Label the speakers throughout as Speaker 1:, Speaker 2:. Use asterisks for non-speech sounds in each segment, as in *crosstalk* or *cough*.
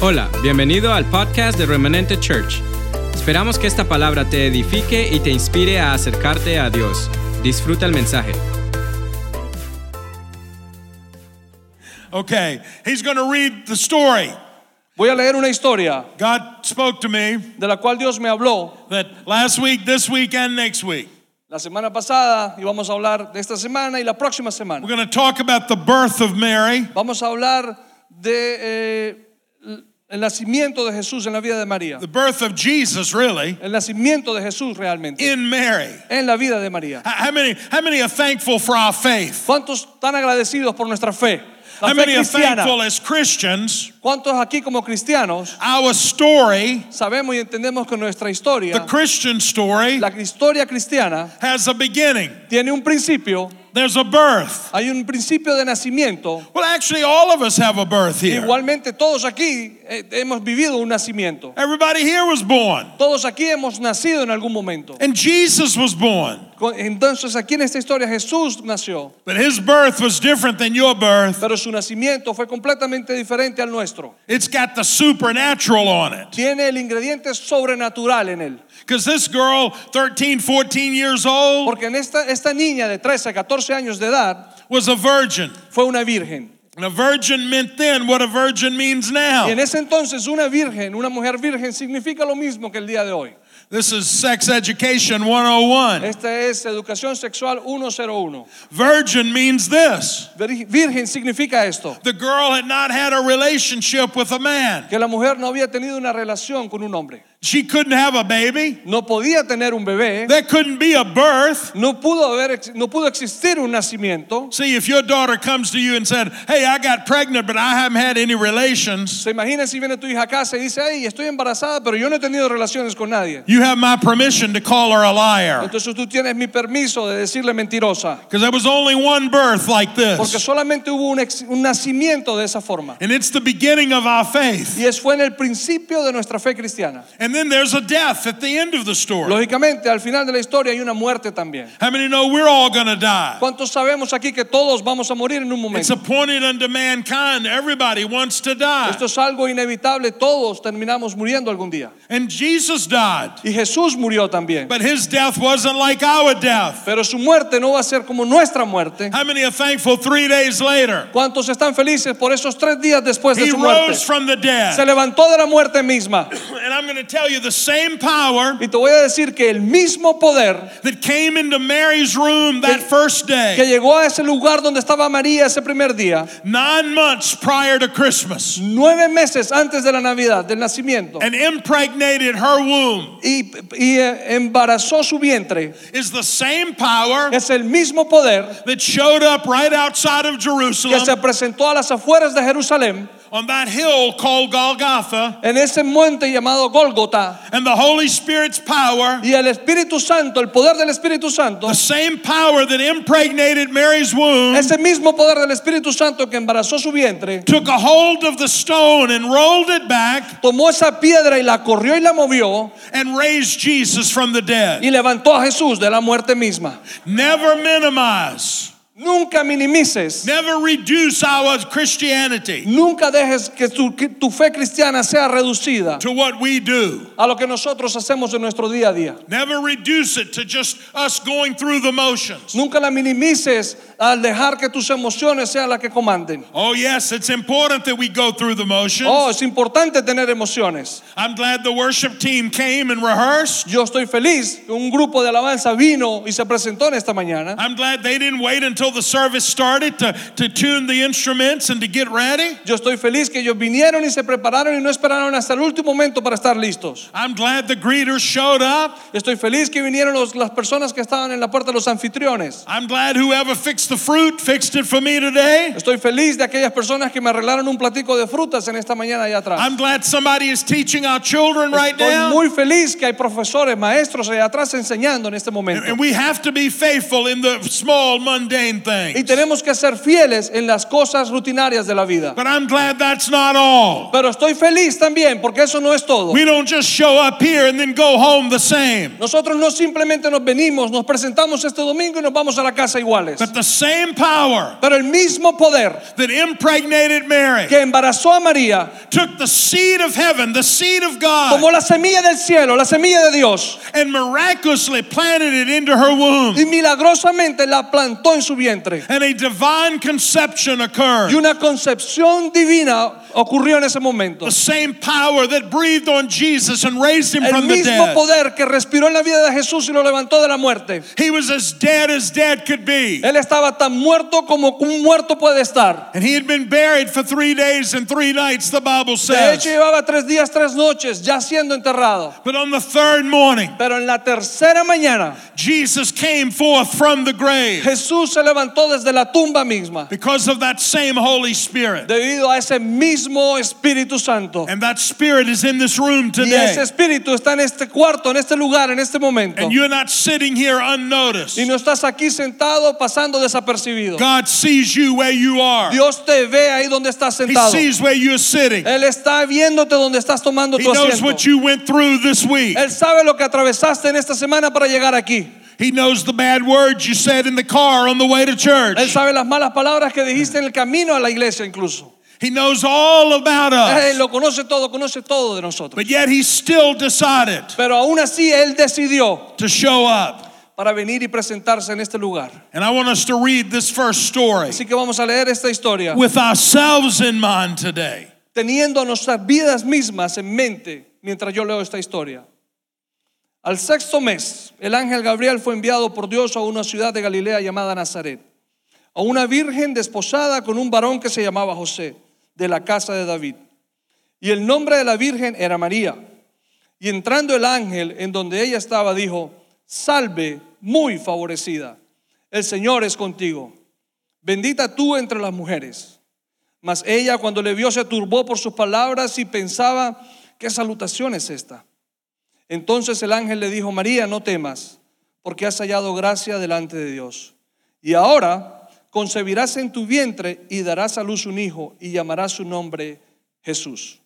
Speaker 1: Hola, bienvenido al podcast de Remanente Church. Esperamos que esta palabra te edifique y te inspire a acercarte a Dios. Disfruta el mensaje.
Speaker 2: Okay, he's going to read the story.
Speaker 3: Voy a leer una historia
Speaker 2: God spoke to me
Speaker 3: de la cual Dios me habló
Speaker 2: that last week, this week, and next week,
Speaker 3: la semana pasada y vamos a hablar de esta semana y la próxima
Speaker 2: we're
Speaker 3: semana.
Speaker 2: going to talk about the birth of Mary
Speaker 3: Vamos a hablar de eh, el nacimiento de Jesús en la vida de María,
Speaker 2: the birth of Jesus really
Speaker 3: el nacimiento de Jesús realmente
Speaker 2: in Mary.
Speaker 3: en la vida de María.
Speaker 2: How how many how many are thankful for our faith?
Speaker 3: ¿Cuántos están agradecidos por nuestra fe? La
Speaker 2: How
Speaker 3: fe
Speaker 2: many are
Speaker 3: cristiana.
Speaker 2: thankful as Christians?
Speaker 3: ¿Cuántos aquí como cristianos
Speaker 2: Our story,
Speaker 3: sabemos y entendemos que nuestra
Speaker 2: the
Speaker 3: historia,
Speaker 2: Christian story,
Speaker 3: la historia cristiana,
Speaker 2: has a beginning.
Speaker 3: tiene un principio,
Speaker 2: There's a birth.
Speaker 3: hay un principio de nacimiento
Speaker 2: Well, actually, all of us have a birth here.
Speaker 3: Igualmente todos aquí eh, hemos vivido un nacimiento.
Speaker 2: Everybody here was born,
Speaker 3: Todos aquí hemos nacido en algún momento.
Speaker 2: and Jesus was born.
Speaker 3: Con- Entonces aquí en esta historia Jesús nació,
Speaker 2: But his birth was different than your birth.
Speaker 3: pero su nacimiento fue completamente diferente al nuestro.
Speaker 2: It's got the supernatural on it.
Speaker 3: Tiene el ingrediente sobrenatural en él.
Speaker 2: Because this girl, 13, 14 years old,
Speaker 3: Porque en esta, esta niña de 13 a 14 años de edad
Speaker 2: was a virgin.
Speaker 3: fue una virgen.
Speaker 2: And a virgin meant then what a virgin means
Speaker 3: Y en
Speaker 2: now.
Speaker 3: ese entonces una virgen, una mujer virgen, significa lo mismo que el día de hoy.
Speaker 2: This is sex education 101.
Speaker 3: Esta es educación sexual 101.
Speaker 2: Virgin means this
Speaker 3: Vir- Virgen significa esto.
Speaker 2: the girl had not had a relationship with a man,
Speaker 3: que la mujer no había tenido una relación con un hombre.
Speaker 2: she couldn't have a baby,
Speaker 3: No podía tener un bebé,
Speaker 2: there couldn't be a birth.
Speaker 3: no pudo haber ex- no pudo existir un nacimiento.
Speaker 2: See, if your daughter comes to you and said, Hey, I got pregnant, but I haven't had any relations,
Speaker 3: Se imagina si viene tu hija a casa y dice, "Ay, estoy embarazada, pero yo no he tenido relaciones con nadie."
Speaker 2: you have my permission to call her a liar.
Speaker 3: Entonces tú tienes mi permiso de decirle mentirosa,
Speaker 2: Because there was only one birth like
Speaker 3: porque
Speaker 2: this.
Speaker 3: solamente hubo un, ex- un nacimiento de esa forma.
Speaker 2: And it's the beginning of our faith.
Speaker 3: Y eso fue en el principio de nuestra fe cristiana.
Speaker 2: And then there's a death at the end of the story.
Speaker 3: Lógicamente, al final de la historia hay una muerte también.
Speaker 2: How many know we're all going to die?
Speaker 3: ¿Cuántos sabemos aquí que todos vamos a morir en un
Speaker 2: It's
Speaker 3: momento?
Speaker 2: appointed unto mankind. Everybody wants to die.
Speaker 3: Esto es algo inevitable, todos terminamos muriendo algún día.
Speaker 2: And Jesus died.
Speaker 3: Y Jesús murió también.
Speaker 2: But his death wasn't like our death.
Speaker 3: Pero su muerte no va a ser como nuestra muerte.
Speaker 2: How many are thankful three days later?
Speaker 3: ¿Cuántos están felices por esos tres días después de
Speaker 2: He
Speaker 3: su muerte?
Speaker 2: rose from the
Speaker 3: Se
Speaker 2: dead.
Speaker 3: levantó de la muerte misma.
Speaker 2: And I'm going to tell you the same power
Speaker 3: Y te voy a decir que el mismo poder
Speaker 2: that came into Mary's room that first
Speaker 3: que
Speaker 2: day,
Speaker 3: llegó a ese lugar donde estaba María ese primer día,
Speaker 2: nine months prior to Christmas,
Speaker 3: nueve meses antes de la Navidad, del nacimiento,
Speaker 2: and impregnated her womb.
Speaker 3: y, y, eh, embarazó su vientre,
Speaker 2: is the same power
Speaker 3: es el mismo poder
Speaker 2: that showed up right outside of
Speaker 3: que se
Speaker 2: Jerusalem
Speaker 3: presentó a las afueras de Jerusalén,
Speaker 2: on that hill called Golgotha,
Speaker 3: en ese monte llamado Gólgota,
Speaker 2: and the Holy Spirit's power,
Speaker 3: y el Espíritu Santo, el poder del Espíritu Santo,
Speaker 2: the same power that impregnated Mary's womb,
Speaker 3: Ese mismo poder del Espíritu Santo que embarazó su vientre,
Speaker 2: took a hold of the stone and rolled it back
Speaker 3: tomó esa piedra y la corrió y la movió
Speaker 2: and raised Jesus from the dead.
Speaker 3: y levantó a Jesús de la muerte misma.
Speaker 2: Never minimize,
Speaker 3: Nunca minimices,
Speaker 2: never reduce our Christianity
Speaker 3: nunca dejes que tu, que tu fe cristiana sea reducida
Speaker 2: to what we do.
Speaker 3: a lo que nosotros hacemos en nuestro día a día.
Speaker 2: Never reduce it to just us going through the motions.
Speaker 3: Nunca la minimices al dejar que tus emociones sean las que comanden.
Speaker 2: Oh, yes, it's important that we go through the motions.
Speaker 3: Oh, es importante tener emociones.
Speaker 2: I'm glad the worship team came and rehearsed.
Speaker 3: Yo estoy feliz que un grupo de alabanza vino y se presentó en esta mañana.
Speaker 2: I'm glad they didn't wait until the service started to, to tune the instruments and to get ready.
Speaker 3: Yo estoy feliz que ellos vinieron y se prepararon y no esperaron hasta el último momento para estar listos.
Speaker 2: I'm glad the greeters showed up.
Speaker 3: Estoy feliz que vinieron los- las personas que estaban en la puerta, los anfitriones.
Speaker 2: I'm glad whoever fixed the fruit fixed it for me today.
Speaker 3: Estoy feliz de aquellas personas que me arreglaron un platico de frutas en esta mañana allá atrás.
Speaker 2: I'm glad somebody is teaching our children right
Speaker 3: Estoy
Speaker 2: now.
Speaker 3: muy feliz que hay profesores, maestros allá atrás enseñando en este momento.
Speaker 2: And we have to be faithful in the small, mundane
Speaker 3: Y
Speaker 2: things.
Speaker 3: tenemos que ser fieles en las cosas rutinarias de la vida.
Speaker 2: But I'm glad that's not all.
Speaker 3: Pero estoy feliz también porque eso no es todo.
Speaker 2: We don't just show up here and then go home the same.
Speaker 3: Nosotros no simplemente nos venimos, nos presentamos este domingo y nos vamos a la casa iguales.
Speaker 2: But the same power
Speaker 3: Pero el mismo poder
Speaker 2: that impregnated Mary
Speaker 3: que embarazó a María
Speaker 2: took the seed of heaven, the seed of
Speaker 3: tomó
Speaker 2: God,
Speaker 3: la semilla del cielo, la semilla de Dios,
Speaker 2: and miraculously planted it into her womb.
Speaker 3: y milagrosamente la plantó en su vientre.
Speaker 2: And a divine conception
Speaker 3: Y
Speaker 2: occurred.
Speaker 3: una concepción divina ocurrió en ese momento.
Speaker 2: The same power that breathed on Jesus and raised him
Speaker 3: El
Speaker 2: from the
Speaker 3: mismo
Speaker 2: dead.
Speaker 3: poder que respiró en la vida de Jesús y lo levantó de la muerte.
Speaker 2: He was as dead as dead could be.
Speaker 3: Él estaba tan muerto como un muerto puede estar.
Speaker 2: And he had been buried for three days and three nights, the Bible
Speaker 3: De hecho,
Speaker 2: says.
Speaker 3: llevaba tres días, tres noches ya siendo enterrado.
Speaker 2: But on the third morning,
Speaker 3: Pero en la tercera mañana,
Speaker 2: Jesus came forth from the grave
Speaker 3: Jesús se levantó desde la tumba misma
Speaker 2: because of that same Holy Spirit.
Speaker 3: debido a ese mismo Espíritu Santo.
Speaker 2: And that Spirit is in this room
Speaker 3: Y ese
Speaker 2: today.
Speaker 3: Espíritu está en este cuarto, en este lugar, en este momento.
Speaker 2: And you're not sitting here unnoticed.
Speaker 3: Y no estás aquí sentado pasando desapercibido.
Speaker 2: God sees you where you are,
Speaker 3: Dios te ve ahí donde estás
Speaker 2: He
Speaker 3: sentado.
Speaker 2: sees where you're sitting.
Speaker 3: Él está viéndote donde estás tomando
Speaker 2: He
Speaker 3: tu
Speaker 2: knows what
Speaker 3: asiento.
Speaker 2: you went through this week.
Speaker 3: Él sabe lo que atravesaste en esta semana para llegar aquí.
Speaker 2: He knows the bad words you said in the car on the way to church.
Speaker 3: Él sabe las malas palabras que dijiste en el camino a la iglesia incluso.
Speaker 2: He knows all about
Speaker 3: Él
Speaker 2: us.
Speaker 3: lo conoce todo, conoce todo de nosotros.
Speaker 2: But yet he still decided
Speaker 3: Pero aún así Él decidió
Speaker 2: to show up.
Speaker 3: para venir y presentarse en este lugar.
Speaker 2: And I want us to read this first story
Speaker 3: Así que vamos a leer esta historia
Speaker 2: with ourselves in mind today.
Speaker 3: teniendo a nuestras vidas mismas en mente mientras yo leo esta historia. Al sexto mes, el ángel Gabriel fue enviado por Dios a una ciudad de Galilea llamada Nazaret, a una virgen desposada con un varón que se llamaba José, de la casa de David. Y el nombre de la virgen era María. Y entrando el ángel en donde ella estaba, dijo, salve muy favorecida, el Señor es contigo, bendita tú entre las mujeres. Mas ella cuando le vio se turbó por sus palabras y pensaba, ¿qué salutación es esta? Entonces el ángel le dijo, María, no temas, porque has hallado gracia delante de Dios. Y ahora concebirás en tu vientre y darás a luz un hijo y llamarás su nombre Jesús.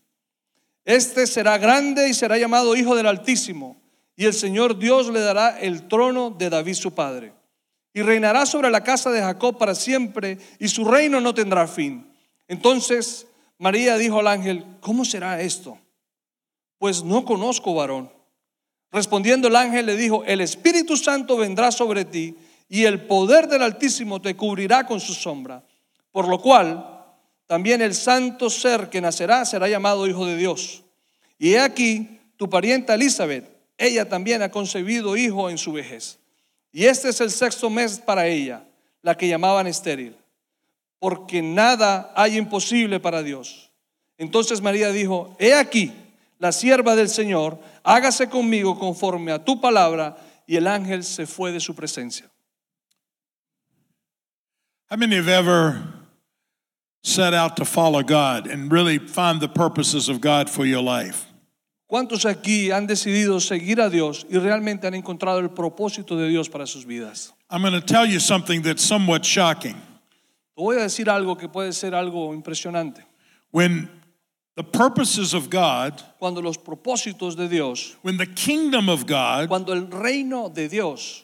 Speaker 3: Este será grande y será llamado Hijo del Altísimo, y el Señor Dios le dará el trono de David su padre. Y reinará sobre la casa de Jacob para siempre, y su reino no tendrá fin. Entonces María dijo al ángel, ¿cómo será esto? Pues no conozco varón. Respondiendo el ángel le dijo, el Espíritu Santo vendrá sobre ti y el poder del Altísimo te cubrirá con su sombra. Por lo cual, también el santo ser que nacerá será llamado Hijo de Dios. Y he aquí tu parienta Elizabeth, ella también ha concebido hijo en su vejez. Y este es el sexto mes para ella, la que llamaban estéril, porque nada hay imposible para Dios. Entonces María dijo, he aquí, la sierva del Señor, hágase conmigo conforme a tu palabra. Y el ángel se fue de su presencia.
Speaker 2: How many have ever set out to follow God and really find the purposes of God for your life?
Speaker 3: ¿Cuántos aquí han decidido seguir a Dios y realmente han encontrado el propósito de Dios para sus vidas?
Speaker 2: I'm going to tell you something that's somewhat shocking.
Speaker 3: Te voy a decir algo que puede ser algo impresionante.
Speaker 2: When the purposes of God,
Speaker 3: Cuando los propósitos de Dios,
Speaker 2: when the kingdom of God,
Speaker 3: cuando el reino de Dios,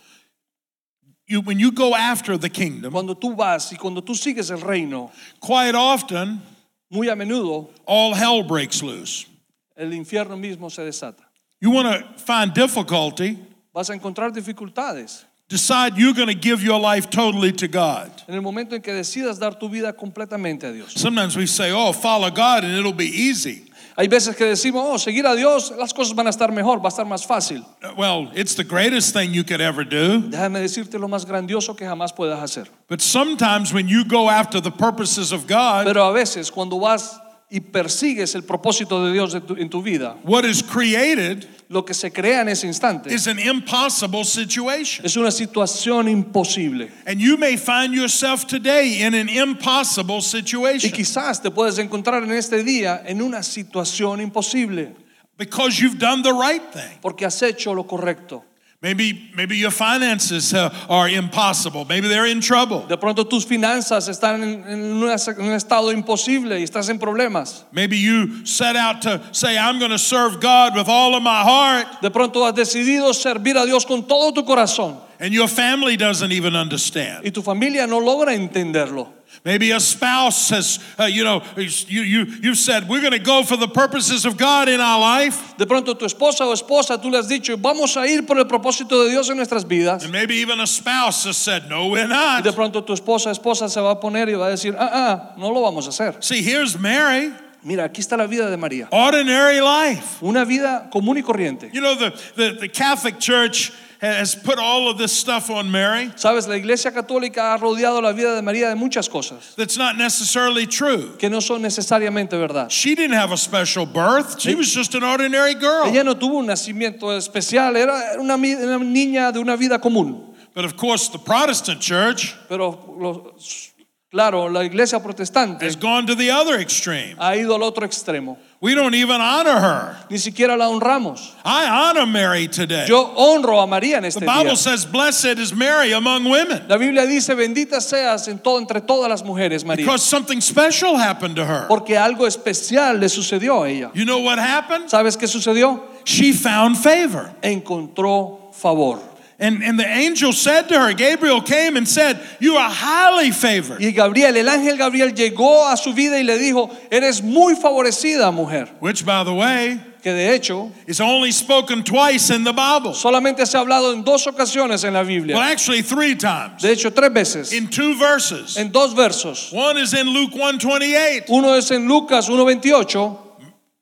Speaker 2: you, when you go after the kingdom,
Speaker 3: cuando tú vas y cuando tú sigues el reino,
Speaker 2: quite often
Speaker 3: muy a menudo
Speaker 2: all hell breaks loose.
Speaker 3: el infierno mismo se desata.
Speaker 2: You want to find difficulty,
Speaker 3: Vas a encontrar dificultades.
Speaker 2: decide you're going to give your life totally to God.
Speaker 3: En el momento en que decidas dar tu vida completamente a Dios.
Speaker 2: Sometimes we say, oh, follow God and it'll be easy.
Speaker 3: Hay veces que decimos, oh, seguir a Dios, las cosas van a estar mejor, va a estar más fácil.
Speaker 2: Uh, Well, it's the greatest thing you could ever do.
Speaker 3: Déjame decirte lo más grandioso que jamás puedas hacer.
Speaker 2: But sometimes when you go after the purposes of God,
Speaker 3: Pero a veces cuando vas y persigues el propósito de Dios de tu- en tu vida,
Speaker 2: what is created
Speaker 3: lo que se crea en ese instante
Speaker 2: is an impossible situation.
Speaker 3: es una situación imposible.
Speaker 2: And you may find yourself today in an impossible
Speaker 3: Y
Speaker 2: situation
Speaker 3: quizás te puedes encontrar en este día en una situación imposible
Speaker 2: because you've done the right thing.
Speaker 3: porque has hecho lo correcto.
Speaker 2: Maybe, maybe your finances uh, are impossible. Maybe they're in trouble.
Speaker 3: De pronto tus finanzas están en, en una- en un estado imposible y estás en problemas.
Speaker 2: Maybe you set out to say, I'm going to serve God with all of my heart,
Speaker 3: De pronto has decidido servir a Dios con todo tu corazón
Speaker 2: and your family doesn't even understand.
Speaker 3: y tu familia no logra entenderlo.
Speaker 2: Maybe a spouse has, uh, you know, you, you, you've said, we're going to go for the purposes of God in our life.
Speaker 3: De pronto tu esposa o esposa, tú le has dicho, vamos a ir por el propósito de Dios en nuestras vidas.
Speaker 2: And maybe even a spouse has said, no, we're
Speaker 3: Y de
Speaker 2: not.
Speaker 3: pronto tu esposa o esposa se va a poner y va a decir, ah, ah, no lo vamos a hacer.
Speaker 2: See, here's Mary,
Speaker 3: Mira, aquí está la vida de María.
Speaker 2: ordinary life.
Speaker 3: Una vida común y corriente.
Speaker 2: You know, the, the, the Catholic Church has put all of this stuff on Mary
Speaker 3: Sabes, la iglesia católica ha rodeado la vida de María de muchas cosas
Speaker 2: that's not necessarily true.
Speaker 3: que no son necesariamente verdad.
Speaker 2: She didn't have a special birth, she was just an ordinary girl.
Speaker 3: Ella no tuvo un nacimiento especial, era una, mi- una niña de una vida común.
Speaker 2: But of course, the Protestant Church
Speaker 3: Pero, los- claro, la iglesia protestante
Speaker 2: has gone to the other extreme.
Speaker 3: ha ido al otro extremo.
Speaker 2: We don't even honor her.
Speaker 3: Ni siquiera la honramos.
Speaker 2: I honor Mary today.
Speaker 3: Yo honro a María en
Speaker 2: The
Speaker 3: este día.
Speaker 2: Bible says, Blessed is Mary among women.
Speaker 3: La Biblia dice, bendita seas en todo, entre todas las mujeres, María.
Speaker 2: Because something special happened to her.
Speaker 3: Porque algo especial le sucedió a ella.
Speaker 2: You know what happened?
Speaker 3: ¿Sabes qué sucedió?
Speaker 2: She found favor.
Speaker 3: Encontró favor.
Speaker 2: And, and the angel said to her, Gabriel came and said, You are highly favored.
Speaker 3: Y Gabriel, el ángel Gabriel llegó a su vida y le dijo, eres muy favorecida mujer.
Speaker 2: Which, by the way,
Speaker 3: Que de hecho
Speaker 2: is only spoken twice in the Bible.
Speaker 3: solamente se ha hablado en dos ocasiones en la
Speaker 2: Well,
Speaker 3: Biblia.
Speaker 2: actually, three times
Speaker 3: De hecho, tres veces.
Speaker 2: in two verses.
Speaker 3: En dos versos.
Speaker 2: One is in Luke 128.
Speaker 3: Uno es en Lucas 1.28.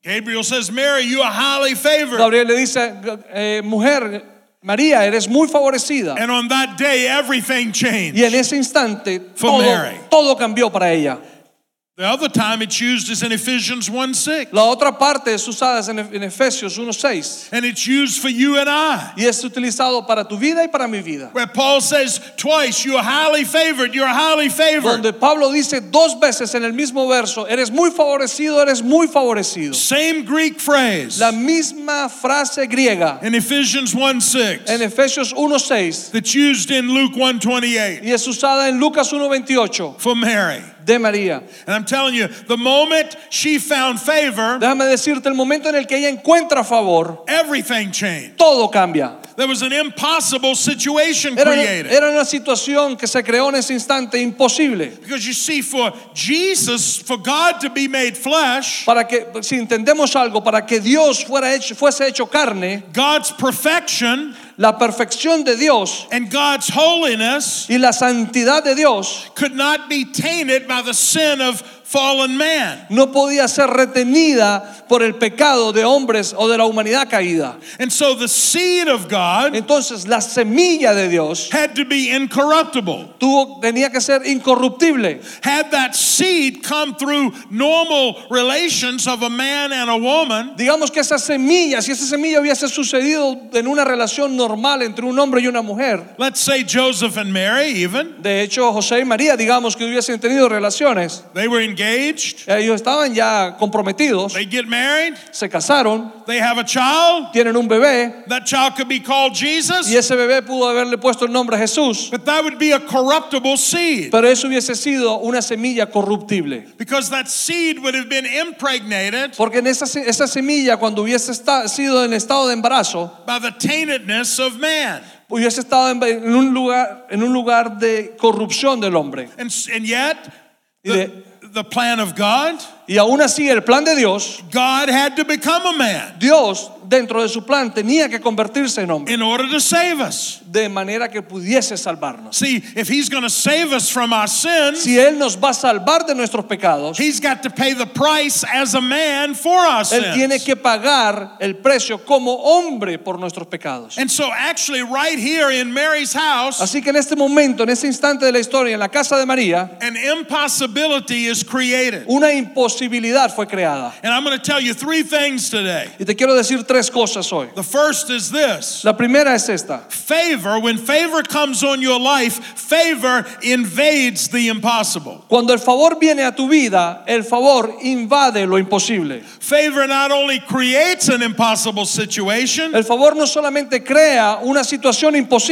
Speaker 2: Gabriel says, Mary, you are highly favored.
Speaker 3: Gabriel le dice, eh, mujer, María, eres muy favorecida.
Speaker 2: And on that day, everything changed.
Speaker 3: Y en ese instante
Speaker 2: For
Speaker 3: todo,
Speaker 2: Mary.
Speaker 3: todo cambió para ella.
Speaker 2: The other time it's used is in Ephesians 1 6.
Speaker 3: La otra parte es usada en, en Efesios 1.6
Speaker 2: And it's used for you and I.
Speaker 3: y es utilizado para tu vida y para mi vida.
Speaker 2: Where Paul says twice, you are highly favored, you're highly favored.
Speaker 3: Donde Pablo dice dos veces en el mismo verso, eres muy favorecido, eres muy favorecido.
Speaker 2: Same Greek phrase
Speaker 3: La misma frase griega
Speaker 2: in Ephesians 1
Speaker 3: en
Speaker 2: 6
Speaker 3: Efesios 1.6
Speaker 2: that's used in Luke 128
Speaker 3: y es usada en Lucas 1.28
Speaker 2: for Mary.
Speaker 3: de María.
Speaker 2: And I'm telling you, the moment she found favor,
Speaker 3: Déjame decirte, el momento en el que ella encuentra favor,
Speaker 2: everything changed.
Speaker 3: todo cambia.
Speaker 2: There was an impossible situation
Speaker 3: Era,
Speaker 2: created.
Speaker 3: era una situación que se creó en ese instante imposible.
Speaker 2: Because you see, for Jesus, for God to be made flesh,
Speaker 3: Para que, si entendemos algo, para que Dios fuera hecho, fuese hecho carne,
Speaker 2: God's perfection
Speaker 3: la perfección de Dios
Speaker 2: and God's holiness
Speaker 3: y la santidad de Dios
Speaker 2: could not be tainted by the sin of fallen man.
Speaker 3: no podía ser retenida por el pecado de hombres o de la humanidad caída.
Speaker 2: And so the seed of God
Speaker 3: Entonces la semilla de Dios
Speaker 2: had to be incorruptible.
Speaker 3: tuvo, tenía que ser incorruptible.
Speaker 2: Had that seed come through normal relations of a man and a woman,
Speaker 3: Digamos que esa semilla, si esa semilla hubiese sucedido en una relación normal entre un hombre y una mujer,
Speaker 2: let's say Joseph and Mary, even,
Speaker 3: de hecho José y María, digamos que hubiesen tenido relaciones,
Speaker 2: they were engaged,
Speaker 3: ellos estaban ya comprometidos,
Speaker 2: they get married,
Speaker 3: se casaron,
Speaker 2: they have a child.
Speaker 3: tienen un bebé
Speaker 2: That child could be called
Speaker 3: y
Speaker 2: Jesus,
Speaker 3: ese bebé pudo haberle puesto el nombre a Jesús,
Speaker 2: but that would be a corruptible seed
Speaker 3: pero eso hubiese sido una semilla corruptible.
Speaker 2: because that seed would have been impregnated
Speaker 3: Porque en esa, se- esa semilla, cuando hubiese esta- sido en estado de embarazo,
Speaker 2: by the taintedness of man.
Speaker 3: hubiese estado en, en un lugar, en un lugar de corrupción del hombre.
Speaker 2: And, and yet,
Speaker 3: Y,
Speaker 2: the,
Speaker 3: de-
Speaker 2: the plan of God,
Speaker 3: y aún así, el plan de Dios,
Speaker 2: God had to become a man
Speaker 3: Dios dentro de su plan tenía que convertirse en hombre
Speaker 2: in order to save us.
Speaker 3: de manera que pudiese salvarnos.
Speaker 2: See, if He's going to save us from our sins,
Speaker 3: Si Él nos va a salvar de nuestros pecados,
Speaker 2: He's got to pay the price as a man for our
Speaker 3: Él tiene
Speaker 2: sins.
Speaker 3: que pagar el precio como hombre por nuestros pecados.
Speaker 2: And so, actually, right here in Mary's house,
Speaker 3: Así que en este momento, en este instante de la historia, en la casa de María,
Speaker 2: an impossibility is created.
Speaker 3: una imposibilidad fue creada.
Speaker 2: And I'm going to tell you three things today.
Speaker 3: Y te quiero decir tres cosas hoy.
Speaker 2: The first is this
Speaker 3: La primera es esta.
Speaker 2: favor, when favor comes on your life, favor invades the impossible.
Speaker 3: Cuando el favor viene a tu vida, el favor invade lo imposible.
Speaker 2: Favor not only creates an impossible situation,
Speaker 3: El favor no solamente crea una situación imposible,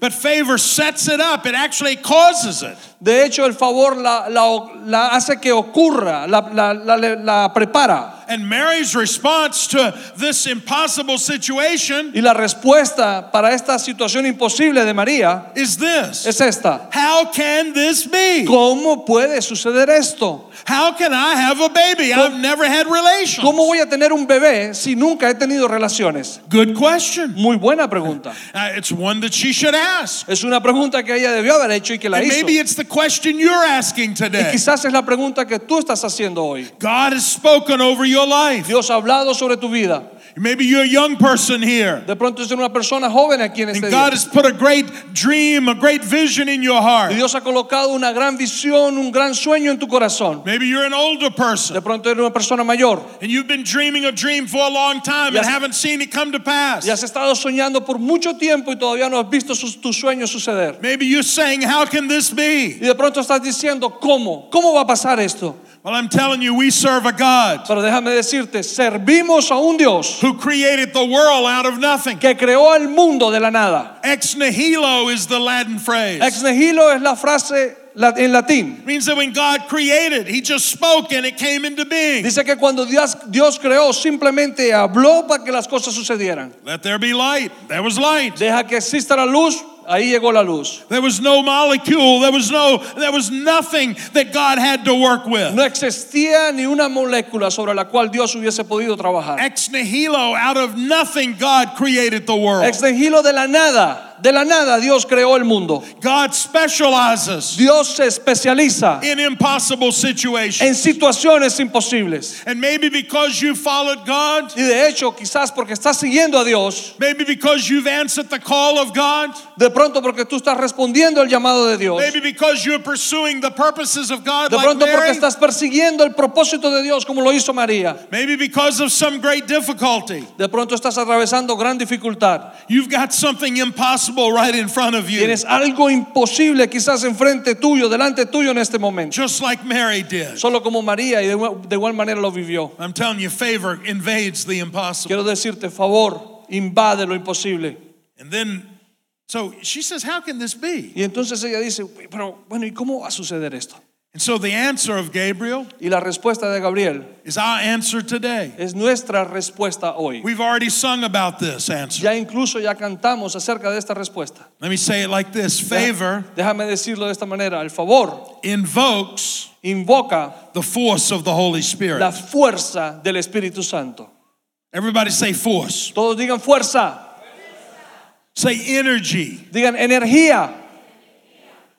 Speaker 2: But favor sets it up, it actually causes it.
Speaker 3: de hecho el favor la, la- la hace que ocurra, la, la- la- la prepara.
Speaker 2: And Mary's response to this impossible situation
Speaker 3: Y la respuesta para esta situación imposible de María
Speaker 2: is this
Speaker 3: es esta.
Speaker 2: How can this be?
Speaker 3: ¿Cómo puede suceder esto?
Speaker 2: How can I have a baby? I've never had relations.
Speaker 3: ¿Cómo voy a tener un bebé si nunca he tenido relaciones?
Speaker 2: Good question.
Speaker 3: Muy buena pregunta.
Speaker 2: Uh, it's one that she should ask.
Speaker 3: Es una pregunta que ella debió haber hecho y que la
Speaker 2: And
Speaker 3: hizo.
Speaker 2: maybe
Speaker 3: Y
Speaker 2: it's the question you're asking today.
Speaker 3: quizás es la pregunta que tú estás haciendo hoy.
Speaker 2: God has spoken over your life.
Speaker 3: Dios ha hablado sobre tu vida.
Speaker 2: Maybe you're a young person here.
Speaker 3: De pronto es una persona joven aquí en
Speaker 2: And
Speaker 3: este día.
Speaker 2: God has put a great dream, a great vision in your heart.
Speaker 3: Y Dios ha colocado una gran visión, un gran sueño en tu corazón.
Speaker 2: Maybe you're an older
Speaker 3: De
Speaker 2: person
Speaker 3: pronto eres una persona mayor
Speaker 2: and you've been dreaming a dream for a long time and
Speaker 3: Y has-
Speaker 2: haven't seen it come to
Speaker 3: y has
Speaker 2: pass.
Speaker 3: estado soñando por mucho tiempo y todavía no has visto sus- tus sueños suceder.
Speaker 2: Maybe you're saying, How can this be?
Speaker 3: Y de pronto estás diciendo, ¿cómo? ¿Cómo va a pasar esto?
Speaker 2: Well, I'm telling you, we serve a God
Speaker 3: Pero déjame decirte, servimos a un Dios
Speaker 2: who created the world out of nothing.
Speaker 3: que creó al mundo de la nada.
Speaker 2: Ex nihilo is the Latin phrase.
Speaker 3: Ex nihilo es la frase la- en latín.
Speaker 2: It means that when God created, He just spoke and it came into being.
Speaker 3: Dice que cuando Dios, Dios creó, simplemente habló para que las cosas sucedieran.
Speaker 2: Let there be light. There was light.
Speaker 3: Deja que exista la luz, ahí llegó la luz.
Speaker 2: There was no molecule. There was no. There was nothing that God had to work with.
Speaker 3: No existía ni una molécula sobre la cual Dios hubiese podido trabajar.
Speaker 2: Ex nihilo, out of nothing, God created the world.
Speaker 3: Ex nihilo de la nada, de la nada Dios creó el mundo.
Speaker 2: God specializes
Speaker 3: Dios se especializa
Speaker 2: in impossible situations.
Speaker 3: en situaciones imposibles.
Speaker 2: And maybe because you followed God,
Speaker 3: Y de hecho, quizás porque estás siguiendo a Dios,
Speaker 2: maybe because you've answered the call of God,
Speaker 3: de pronto porque tú estás respondiendo al llamado de Dios,
Speaker 2: maybe because you're pursuing the purposes of God
Speaker 3: de
Speaker 2: like
Speaker 3: pronto porque
Speaker 2: Mary,
Speaker 3: estás persiguiendo el propósito de Dios como lo hizo María,
Speaker 2: maybe because of some great difficulty.
Speaker 3: de pronto estás atravesando gran dificultad,
Speaker 2: You've got something impossible right in front of you,
Speaker 3: tienes algo imposible quizás enfrente tuyo, delante tuyo en este momento,
Speaker 2: just like Mary did.
Speaker 3: solo como María y de igual- de igual manera lo vivió.
Speaker 2: I'm telling you, favor invades the impossible.
Speaker 3: Quiero decirte, favor, invade lo imposible.
Speaker 2: And then, so she says, How can this be?
Speaker 3: Y entonces ella dice, "Uy, pero bueno, ¿y cómo va a suceder esto?
Speaker 2: And so the answer of Gabriel
Speaker 3: Y la respuesta de Gabriel
Speaker 2: is our answer today.
Speaker 3: es nuestra respuesta hoy.
Speaker 2: We've already sung about this answer.
Speaker 3: Ya incluso ya cantamos acerca de esta respuesta.
Speaker 2: Let me say it like this favor
Speaker 3: Déjame decirlo de esta manera, el favor
Speaker 2: invokes
Speaker 3: invoca
Speaker 2: the force of the Holy
Speaker 3: la
Speaker 2: Spirit.
Speaker 3: fuerza del Espíritu Santo.
Speaker 2: Everybody say force.
Speaker 3: Todos digan fuerza,
Speaker 2: Say energy.
Speaker 3: digan energía.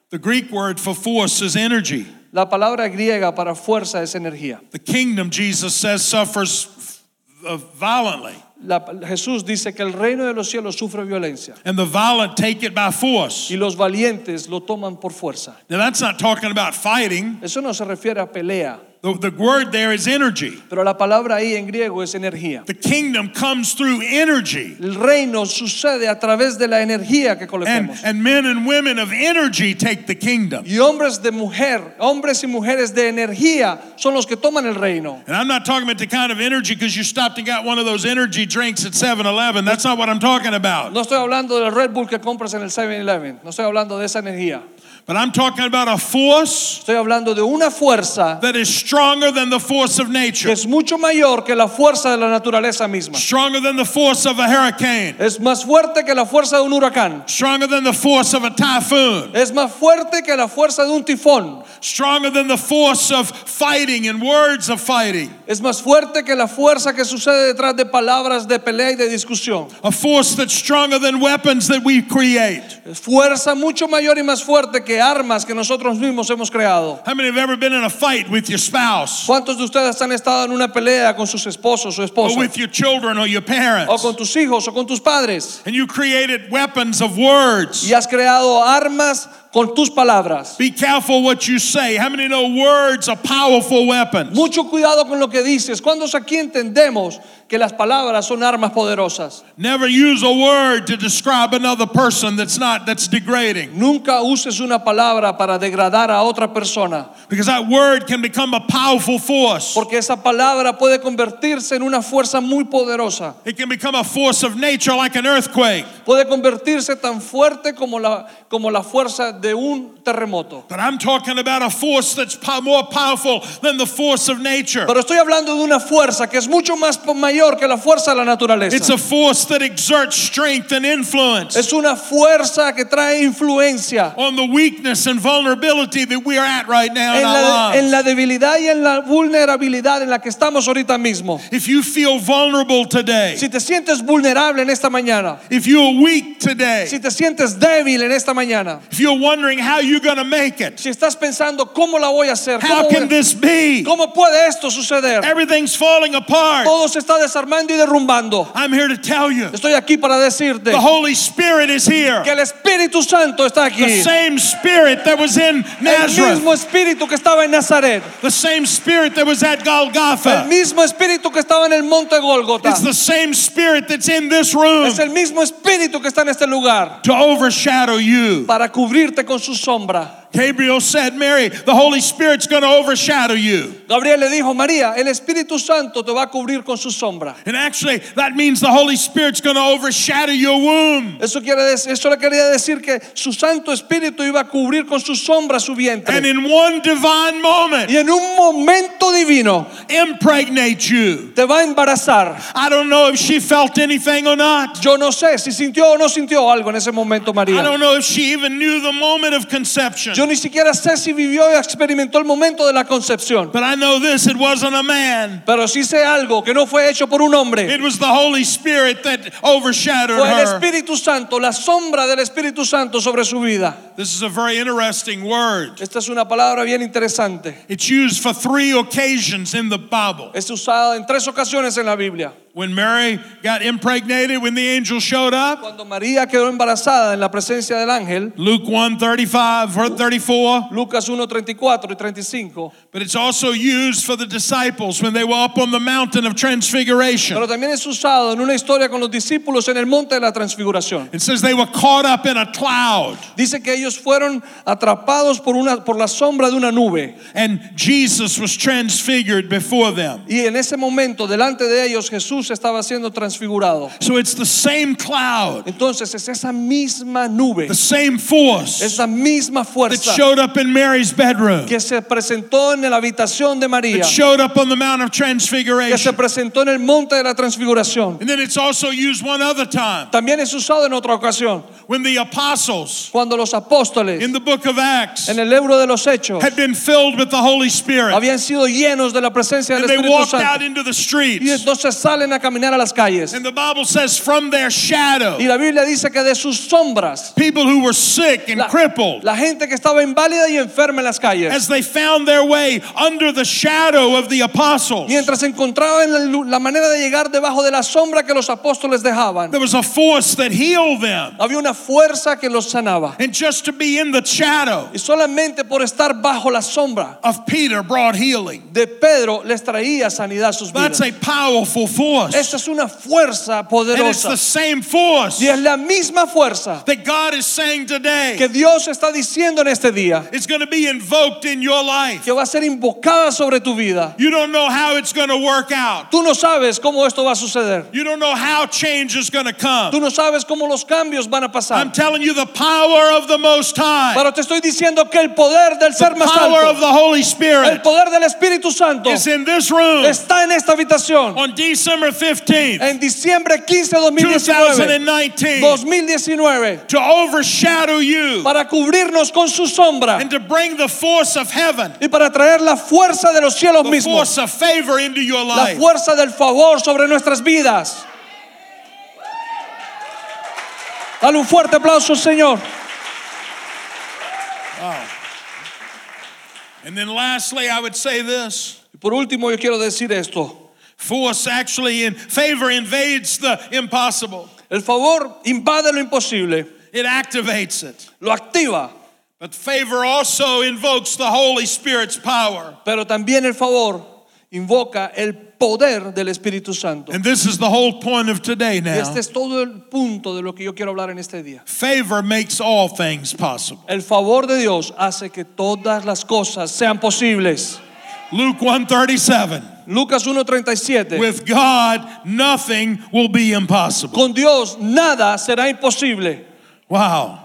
Speaker 2: The Greek word for force is energy.
Speaker 3: La palabra griega para fuerza es energía.
Speaker 2: The kingdom, Jesus says, suffers uh, violently,
Speaker 3: La- Jesús dice que el reino de los cielos sufre violencia
Speaker 2: and the violent take it by force.
Speaker 3: y los valientes lo toman por fuerza.
Speaker 2: Now, that's not talking about fighting.
Speaker 3: Eso no se refiere a pelea,
Speaker 2: The, the word there is energy.
Speaker 3: pero la palabra ahí en griego es energía.
Speaker 2: The kingdom comes through energy.
Speaker 3: El reino sucede a través de la energía que
Speaker 2: And,
Speaker 3: coloquemos.
Speaker 2: and men and women of energy take the kingdom.
Speaker 3: Y hombres de mujer, hombres y mujeres de energía son los que toman el reino.
Speaker 2: And I'm not talking about the kind of energy because you stopped and got one of those energy drinks at 7 Eleven. That's not what I'm talking about.
Speaker 3: No estoy hablando del Red Bull que compras en el 7-Eleven, no estoy hablando de esa energía.
Speaker 2: But I'm talking about a force
Speaker 3: Estoy hablando de una fuerza
Speaker 2: that is stronger than the force of
Speaker 3: que
Speaker 2: nature,
Speaker 3: es mucho mayor que la fuerza de la naturaleza misma.
Speaker 2: stronger than the force of a hurricane,
Speaker 3: Es más fuerte que la fuerza de un huracán.
Speaker 2: stronger than the force of a typhoon,
Speaker 3: Es más fuerte que la fuerza de un tifón.
Speaker 2: stronger than the force of fighting and words of fighting,
Speaker 3: Es más fuerte que la fuerza que sucede detrás de palabras de pelea y de discusión.
Speaker 2: a force that's stronger than weapons that we create.
Speaker 3: Es fuerza mucho mayor y más fuerte que armas que nosotros mismos hemos creado.
Speaker 2: How many have ever been in a fight with your spouse
Speaker 3: ¿Cuántos de ustedes han estado en una pelea con sus esposos o
Speaker 2: or
Speaker 3: esposas?
Speaker 2: with your children or your
Speaker 3: O
Speaker 2: parents?
Speaker 3: con tus hijos o con tus padres.
Speaker 2: And you created weapons of words.
Speaker 3: Y has creado armas con tus palabras.
Speaker 2: Be careful what you say. How many know words are powerful weapons?
Speaker 3: Mucho cuidado con lo que dices. ¿Cuántos aquí entendemos que las palabras son armas poderosas?
Speaker 2: Never use a word to describe another person that's not that's degrading
Speaker 3: Nunca uses una palabra para degradar a otra persona,
Speaker 2: because that word can become a powerful force.
Speaker 3: porque esa palabra puede convertirse en una fuerza muy poderosa.
Speaker 2: It can become a force of nature like an earthquake.
Speaker 3: Puede convertirse tan fuerte como la, como la fuerza de de un terremoto.
Speaker 2: But I'm talking about a force that's po- more powerful than the force of nature.
Speaker 3: Pero estoy hablando de una fuerza que es mucho más po- mayor que la fuerza de la
Speaker 2: It's
Speaker 3: naturaleza.
Speaker 2: a force that exerts strength and influence
Speaker 3: Es una fuerza que trae influencia
Speaker 2: on the weakness and vulnerability that we are at right now in
Speaker 3: en
Speaker 2: our
Speaker 3: la, en
Speaker 2: lives.
Speaker 3: la debilidad y en la vulnerabilidad en la que estamos ahorita mismo.
Speaker 2: If you feel vulnerable today,
Speaker 3: Si te sientes vulnerable en esta mañana,
Speaker 2: if you're weak
Speaker 3: si
Speaker 2: today,
Speaker 3: te sientes débil en esta mañana,
Speaker 2: if you're wondering how you're going to make it,
Speaker 3: si estás pensando cómo la voy a hacer,
Speaker 2: how
Speaker 3: cómo,
Speaker 2: can
Speaker 3: voy a-
Speaker 2: this be?
Speaker 3: cómo puede esto suceder,
Speaker 2: Everything's falling apart.
Speaker 3: todo se está desarmando y derrumbando.
Speaker 2: I'm here to tell you
Speaker 3: Estoy aquí para decirte
Speaker 2: the Holy Spirit is here.
Speaker 3: que el Espíritu Santo está
Speaker 2: The
Speaker 3: aquí.
Speaker 2: same Spirit that was in
Speaker 3: El
Speaker 2: Nazareth,
Speaker 3: mismo Espíritu que estaba en Nazaret,
Speaker 2: the same Spirit that was at
Speaker 3: el
Speaker 2: Golgotha,
Speaker 3: mismo Espíritu que estaba en el monte Gólgota,
Speaker 2: it's the same Spirit that's in this room
Speaker 3: es el mismo Espíritu que está en este lugar
Speaker 2: to overshadow you.
Speaker 3: para cubrirte con su sombra.
Speaker 2: Gabriel said, Mary, the Holy Spirit's going to overshadow you.
Speaker 3: Gabriel le dijo, María, el Espíritu Santo te va a cubrir con su sombra.
Speaker 2: And actually, that means the Holy Spirit's going to overshadow your womb.
Speaker 3: Eso, quiere decir, eso le quería decir que su Santo Espíritu iba a cubrir con su sombra su
Speaker 2: And
Speaker 3: vientre.
Speaker 2: in one divine moment,
Speaker 3: Y en un momento divino
Speaker 2: impregnate you.
Speaker 3: te va a embarazar.
Speaker 2: I don't know if she felt anything or not.
Speaker 3: Yo no sé si sintió o no sintió algo en ese momento
Speaker 2: I
Speaker 3: María.
Speaker 2: don't know if she even knew the moment of conception.
Speaker 3: Yo ni siquiera sé si vivió y experimentó el momento de la concepción.
Speaker 2: But I know this it wasn't a man.
Speaker 3: Pero sí sé algo que no fue hecho por un hombre.
Speaker 2: It was the Holy Spirit that overshadowed
Speaker 3: Fue el
Speaker 2: her.
Speaker 3: Espíritu Santo, la sombra del Espíritu Santo sobre su vida.
Speaker 2: This is a very interesting word.
Speaker 3: Esta es una palabra bien interesante.
Speaker 2: It's used for three occasions in the Bible.
Speaker 3: Es usada en tres ocasiones en la Biblia.
Speaker 2: When Mary got impregnated, when the angel showed up,
Speaker 3: Cuando María quedó embarazada en la presencia del ángel,
Speaker 2: Luke 1 35, 34.
Speaker 3: Lucas 1, 34 y 35.
Speaker 2: But it's also used for the disciples when they were up on the mountain of transfiguration.
Speaker 3: Pero también es usado en una historia con los discípulos en el monte de la transfiguración.
Speaker 2: It says they were caught up in a cloud,
Speaker 3: Dice que ellos fueron atrapados por, una, por la sombra de una nube.
Speaker 2: and Jesus was transfigured before them.
Speaker 3: Y en ese momento, delante de ellos, Jesús estaba siendo transfigurado.
Speaker 2: So it's the same cloud,
Speaker 3: Entonces es esa misma nube,
Speaker 2: the same force
Speaker 3: esa misma
Speaker 2: that
Speaker 3: fuerza
Speaker 2: showed up in Mary's bedroom.
Speaker 3: que se presentó en la habitación de María,
Speaker 2: It showed up on the Mount of
Speaker 3: que se
Speaker 2: Transfiguration.
Speaker 3: presentó en el monte de la transfiguración.
Speaker 2: And then it's also used one other time
Speaker 3: También es usado en otra ocasión,
Speaker 2: when the apostles
Speaker 3: cuando los apóstoles
Speaker 2: in the book of Acts
Speaker 3: en el libro de los Hechos
Speaker 2: had been filled with the Holy Spirit
Speaker 3: habían sido llenos de la presencia
Speaker 2: and
Speaker 3: del
Speaker 2: they
Speaker 3: Espíritu
Speaker 2: walked out
Speaker 3: Santo.
Speaker 2: into the
Speaker 3: Y
Speaker 2: streets.
Speaker 3: entonces salen a caminar a las calles.
Speaker 2: And the Bible says, from their shadow,
Speaker 3: Y la Biblia dice que de sus sombras,
Speaker 2: people who were sick and
Speaker 3: la,
Speaker 2: crippled,
Speaker 3: la gente que estaba inválida y enferma en las calles,
Speaker 2: as they found their way under the shadow of the apostles,
Speaker 3: mientras encontraban la, lu- la manera de llegar debajo de la sombra que los apóstoles dejaban,
Speaker 2: there was a force that healed them.
Speaker 3: había una fuerza que los sanaba.
Speaker 2: And just to be in the shadow
Speaker 3: Y solamente por estar bajo la sombra
Speaker 2: of Peter brought healing.
Speaker 3: de Pedro les traía sanidad a sus
Speaker 2: That's
Speaker 3: vidas.
Speaker 2: a powerful force.
Speaker 3: Esa es una fuerza
Speaker 2: And it's
Speaker 3: poderosa.
Speaker 2: the same force
Speaker 3: Y es la misma fuerza
Speaker 2: that God is saying
Speaker 3: que
Speaker 2: today
Speaker 3: Dios está diciendo en este día,
Speaker 2: is going to be invoked in your life.
Speaker 3: que va a ser invocada sobre tu vida.
Speaker 2: You don't know how it's going to work out.
Speaker 3: Tú no sabes cómo esto va a suceder.
Speaker 2: You don't know how change is going to come.
Speaker 3: Tú no sabes cómo los cambios van a
Speaker 2: I'm
Speaker 3: pasar.
Speaker 2: telling you, the power of the Most High,
Speaker 3: Pero te estoy diciendo que el poder del
Speaker 2: the
Speaker 3: ser más
Speaker 2: power of
Speaker 3: alto,
Speaker 2: the Holy
Speaker 3: el
Speaker 2: Spirit
Speaker 3: poder del Espíritu Santo,
Speaker 2: is in this room
Speaker 3: está en esta habitación.
Speaker 2: on December 15th,
Speaker 3: En diciembre 15 de 2019,
Speaker 2: 2019,
Speaker 3: 2019,
Speaker 2: to overshadow you
Speaker 3: para cubrirnos con su sombra
Speaker 2: and to bring the force of heaven,
Speaker 3: y para traer la fuerza de los cielos
Speaker 2: the
Speaker 3: mismos,
Speaker 2: force of favor into your
Speaker 3: la
Speaker 2: life.
Speaker 3: fuerza del favor sobre nuestras vidas. Dale un fuerte aplauso, Señor.
Speaker 2: And then, lastly, I would say this.
Speaker 3: Y por último, yo quiero decir esto.
Speaker 2: Force actually in favor invades the impossible.
Speaker 3: El favor invade lo imposible,
Speaker 2: It activates it.
Speaker 3: lo activa,
Speaker 2: But favor also invokes the Holy Spirit's power.
Speaker 3: pero también el favor invoca el poder del Espíritu Santo.
Speaker 2: And this is the whole point of today
Speaker 3: Y
Speaker 2: now.
Speaker 3: este es todo el punto de lo que yo quiero hablar en este día.
Speaker 2: Favor makes all things possible.
Speaker 3: El favor de Dios hace que todas las cosas sean posibles.
Speaker 2: Luke 137.
Speaker 3: Lucas 1:37.
Speaker 2: With God, nothing will be impossible.
Speaker 3: Con Dios nada será imposible.
Speaker 2: Wow.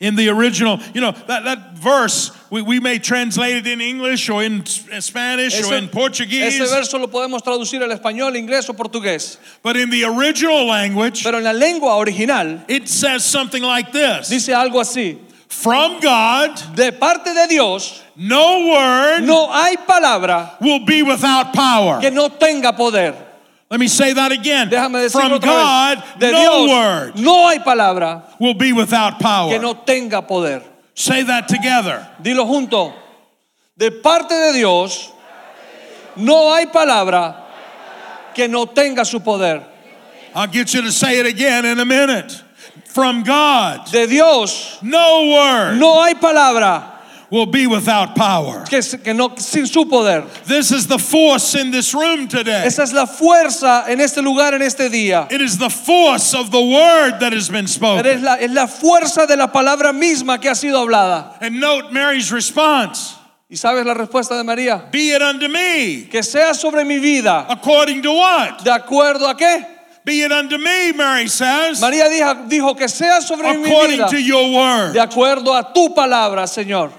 Speaker 2: In the original, you know, that, that verse, we, we may translate it in English or in S- uh, Spanish or
Speaker 3: Ese,
Speaker 2: in Portuguese,
Speaker 3: ese verso lo podemos traducir al español, inglés o portugués.
Speaker 2: but in the original language,
Speaker 3: Pero en la lengua original
Speaker 2: it says something like this
Speaker 3: dice algo así.
Speaker 2: From God,
Speaker 3: De parte de Dios
Speaker 2: no word
Speaker 3: no hay palabra
Speaker 2: will be without power.
Speaker 3: que no tenga poder.
Speaker 2: Let me say that again.
Speaker 3: Déjame decirlo
Speaker 2: From
Speaker 3: otra
Speaker 2: God,
Speaker 3: vez. De
Speaker 2: no
Speaker 3: Dios
Speaker 2: word
Speaker 3: no hay palabra
Speaker 2: will be without
Speaker 3: que
Speaker 2: power.
Speaker 3: no tenga poder.
Speaker 2: Say that together.
Speaker 3: Dilo junto. De parte de Dios no hay palabra que no tenga su poder.
Speaker 2: I'll get you to say it again in a minute. From God,
Speaker 3: De Dios
Speaker 2: no word
Speaker 3: no hay palabra
Speaker 2: will be without power.
Speaker 3: que, que no sin su poder.
Speaker 2: This is the force in this room today.
Speaker 3: Esa es la fuerza en este lugar, en este día.
Speaker 2: It is the force of the word that has been
Speaker 3: Es
Speaker 2: spoken.
Speaker 3: la, es la fuerza de la palabra misma que ha sido hablada.
Speaker 2: And note Mary's response
Speaker 3: ¿Y sabes la respuesta de María?
Speaker 2: Be it unto me.
Speaker 3: Que sea sobre mi vida.
Speaker 2: According to what?
Speaker 3: ¿De acuerdo a qué?
Speaker 2: Be it unto me, Mary says.
Speaker 3: María dijo, dijo que sea sobre mi
Speaker 2: According
Speaker 3: vida.
Speaker 2: to your
Speaker 3: De
Speaker 2: word.
Speaker 3: acuerdo a tu palabra, Señor.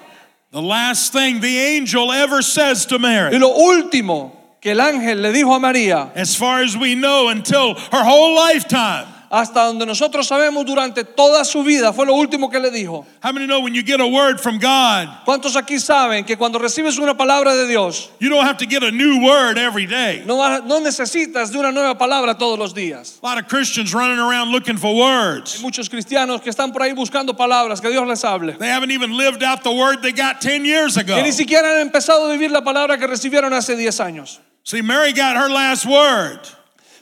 Speaker 2: The last thing the angel ever says to
Speaker 3: Y
Speaker 2: Mary,
Speaker 3: lo último que el ángel le dijo a María,
Speaker 2: as far as we know, until her whole lifetime.
Speaker 3: hasta donde nosotros sabemos durante toda su vida, fue lo último que le dijo.
Speaker 2: How many know when you get a word from God,
Speaker 3: ¿Cuántos aquí saben que cuando recibes una palabra de Dios,
Speaker 2: you don't have to get a new word every day?
Speaker 3: no, vas- no necesitas de una nueva palabra todos los días?
Speaker 2: A lot of Christians running around looking for words.
Speaker 3: Muchos cristianos que están por ahí buscando palabras, que Dios les hable.
Speaker 2: They haven't even lived out the word they got 10 years
Speaker 3: Que
Speaker 2: ago.
Speaker 3: ni siquiera han empezado a vivir la palabra que recibieron hace 10 años.
Speaker 2: See, Mary got her last word,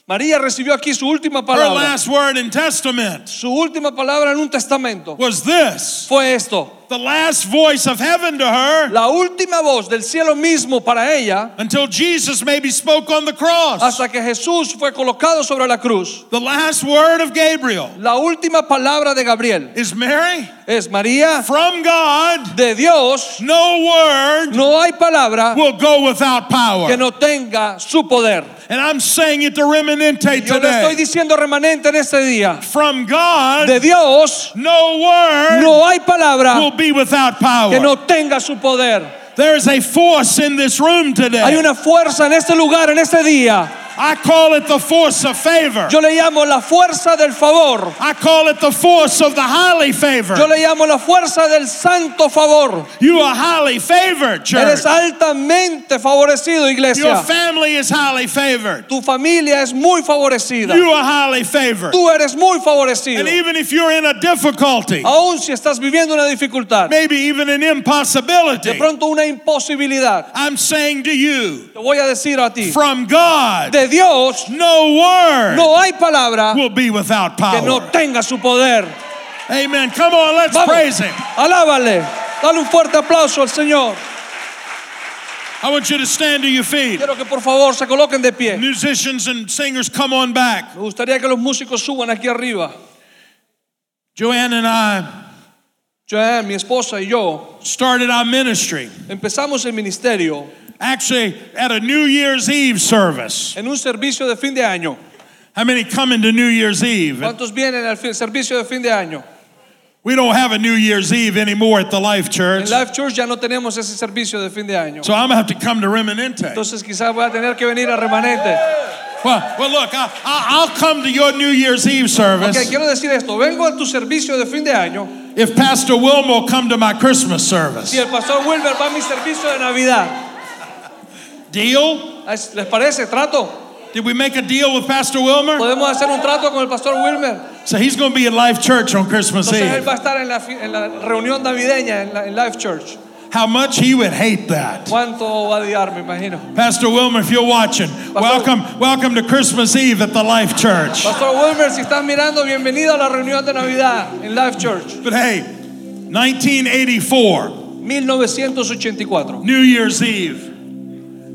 Speaker 3: María recibió aquí su última
Speaker 2: her
Speaker 3: palabra.
Speaker 2: last word in testament
Speaker 3: Su última palabra en un testamento
Speaker 2: was this
Speaker 3: fue esto.
Speaker 2: the last voice of heaven to her
Speaker 3: La última voz del cielo mismo para ella
Speaker 2: until Jesus maybe spoke on the cross.
Speaker 3: hasta que Jesús fue colocado sobre la cruz.
Speaker 2: The last word of Gabriel
Speaker 3: La última palabra de Gabriel
Speaker 2: is Mary
Speaker 3: es María,
Speaker 2: from God.
Speaker 3: de Dios
Speaker 2: No word
Speaker 3: no hay palabra
Speaker 2: will go without power.
Speaker 3: que no tenga su poder.
Speaker 2: And I'm saying it to Remanente
Speaker 3: Yo le estoy
Speaker 2: today.
Speaker 3: diciendo remanente en este día.
Speaker 2: From God,
Speaker 3: De Dios
Speaker 2: no word
Speaker 3: no hay palabra
Speaker 2: will be without
Speaker 3: que
Speaker 2: power.
Speaker 3: no tenga su poder.
Speaker 2: There is a force in this room
Speaker 3: Hay
Speaker 2: today.
Speaker 3: una fuerza en este lugar, en este día.
Speaker 2: I call it the force of favor.
Speaker 3: Yo le llamo la fuerza del favor.
Speaker 2: I call it the force of the highly
Speaker 3: Yo
Speaker 2: favored.
Speaker 3: le llamo la fuerza del santo favor.
Speaker 2: You are highly favored, church.
Speaker 3: Eres altamente favorecido,
Speaker 2: Your
Speaker 3: iglesia.
Speaker 2: family is highly favored.
Speaker 3: Tu familia es muy favorecida.
Speaker 2: You are highly favored.
Speaker 3: Tú eres muy favorecido.
Speaker 2: And even if you're in a difficulty,
Speaker 3: Aún si estás viviendo una dificultad,
Speaker 2: maybe even an
Speaker 3: de
Speaker 2: impossibility,
Speaker 3: pronto una imposibilidad,
Speaker 2: I'm saying to you,
Speaker 3: te voy a decir a ti,
Speaker 2: from God,
Speaker 3: de Dios
Speaker 2: no word
Speaker 3: no hay palabra
Speaker 2: will be without
Speaker 3: que no
Speaker 2: power.
Speaker 3: tenga su poder.
Speaker 2: Amen. Come on, let's
Speaker 3: Vamos,
Speaker 2: praise him.
Speaker 3: alábale, dale un fuerte aplauso al Señor.
Speaker 2: I want you to stand to your feet.
Speaker 3: Quiero que por favor se coloquen de pie. Me
Speaker 2: Musicians and singers, come on back.
Speaker 3: gustaría que los músicos suban aquí arriba.
Speaker 2: Joanne and I
Speaker 3: Joanne, eh, mi esposa y yo
Speaker 2: started our ministry
Speaker 3: empezamos el ministerio
Speaker 2: actually at a New Year's Eve service.
Speaker 3: en un servicio de fin de año.
Speaker 2: How many come into New Year's Eve?
Speaker 3: ¿Cuántos vienen al fi- servicio de fin de año?
Speaker 2: We don't have a New Year's Eve anymore at the Life
Speaker 3: En
Speaker 2: Church.
Speaker 3: Life Church ya no tenemos ese servicio de fin de año.
Speaker 2: So I'm gonna have to come to Remanente.
Speaker 3: Entonces quizás voy a tener que venir a remanente.
Speaker 2: Well, well, look, I, I, I'll come to your New Year's Eve
Speaker 3: Ok,
Speaker 2: service
Speaker 3: quiero decir esto, vengo a tu servicio de fin de año
Speaker 2: if Pastor Wilmer will come to my Christmas
Speaker 3: y
Speaker 2: service.
Speaker 3: el pastor Wilber va a mi servicio de Navidad. Ah,
Speaker 2: Deal?
Speaker 3: ¿Les les parece? ¿Trato?
Speaker 2: Did we make a deal with Pastor Wilmer?
Speaker 3: ¿Podemos hacer un trato con el pastor Wilmer?
Speaker 2: So he's going to be at Life Church on Christmas
Speaker 3: Entonces él
Speaker 2: Eve.
Speaker 3: va a estar en la, fi- en la reunión navideña en, la, en Life Church.
Speaker 2: How much he would hate that.
Speaker 3: ¿Cuánto va a odiar, me imagino?
Speaker 2: Pastor Wilmer, if you're watching, welcome, welcome to Christmas Eve at the Life Church.
Speaker 3: Pastor Wilmer, si estás mirando, bienvenido a la reunión de Navidad en Life Church.
Speaker 2: But hey, 1984,
Speaker 3: 1984,
Speaker 2: New Year's Eve.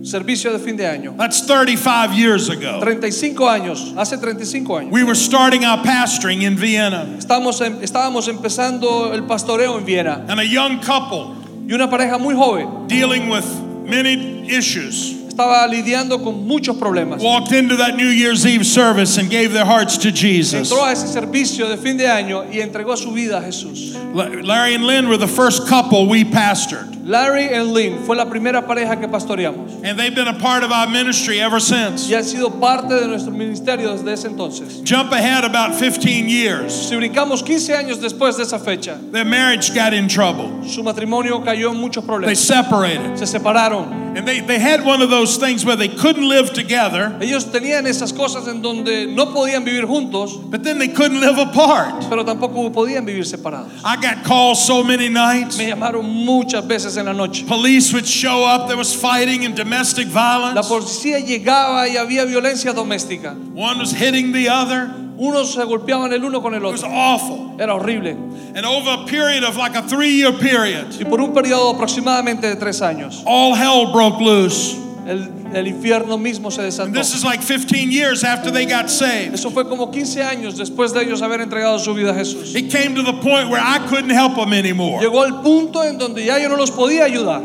Speaker 3: servicio de fin de año.
Speaker 2: That's 35 years ago.
Speaker 3: 35 años, hace 35 años.
Speaker 2: We were starting our pastoring in Vienna,
Speaker 3: Estamos em- estábamos empezando el pastoreo en Viena
Speaker 2: and a young couple
Speaker 3: y una pareja muy joven
Speaker 2: dealing with many issues
Speaker 3: estaba lidiando con muchos problemas.
Speaker 2: walked into that New Year's Eve service and gave their hearts to Jesus.
Speaker 3: Entró a ese servicio de fin de año y entregó su vida a Jesús.
Speaker 2: La- Larry and Lynn were the first couple we pastored,
Speaker 3: Larry and Lynn fue la primera pareja que pastoreamos
Speaker 2: and they've been a part of our ministry ever since.
Speaker 3: y han sido parte de nuestro ministerio desde ese entonces.
Speaker 2: Jump ahead about 15 years,
Speaker 3: Si brincamos 15 años después de esa fecha,
Speaker 2: their marriage got in trouble.
Speaker 3: su matrimonio cayó en muchos
Speaker 2: They
Speaker 3: problemas.
Speaker 2: separated.
Speaker 3: Se separaron.
Speaker 2: And they, they had one of those things where they couldn't live together,
Speaker 3: Ellos tenían esas cosas en donde no podían vivir juntos,
Speaker 2: but then they couldn't live apart.
Speaker 3: pero tampoco podían vivir separados.
Speaker 2: I got calls so many nights.
Speaker 3: Me llamaron muchas veces en la noche.
Speaker 2: Police would show up. There was fighting and domestic
Speaker 3: La
Speaker 2: violence.
Speaker 3: policía llegaba y había violencia doméstica.
Speaker 2: One was hitting the other.
Speaker 3: Unos se golpeaban el uno con el
Speaker 2: It was
Speaker 3: otro.
Speaker 2: awful.
Speaker 3: Era horrible.
Speaker 2: And over a period of like a three year period,
Speaker 3: Y por un periodo aproximadamente de tres años,
Speaker 2: all hell broke loose.
Speaker 3: el, el infierno mismo se
Speaker 2: And
Speaker 3: desató.
Speaker 2: this is like 15 years after they got saved.
Speaker 3: Eso fue como 15 años después de ellos haber entregado su vida a Jesús.
Speaker 2: It came to the point where I couldn't help them anymore.
Speaker 3: Llegó al punto en donde ya yo no los podía ayudar.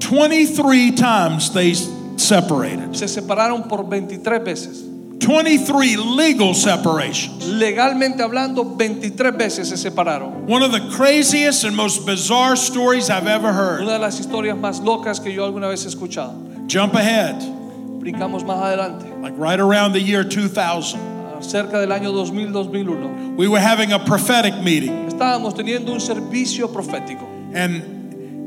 Speaker 2: 23 times they separated,
Speaker 3: Se separaron por 23 veces.
Speaker 2: 23 legal separations.
Speaker 3: Legalmente hablando, 23 veces se separaron.
Speaker 2: One of the craziest and most bizarre stories I've ever heard.
Speaker 3: Una de las historias más locas que yo alguna vez he escuchado.
Speaker 2: Jump ahead.
Speaker 3: Brincamos más adelante,
Speaker 2: like right around the year 2000.
Speaker 3: cerca del año 2000-2001.
Speaker 2: We were having a prophetic meeting,
Speaker 3: Estábamos teniendo un servicio profético.
Speaker 2: and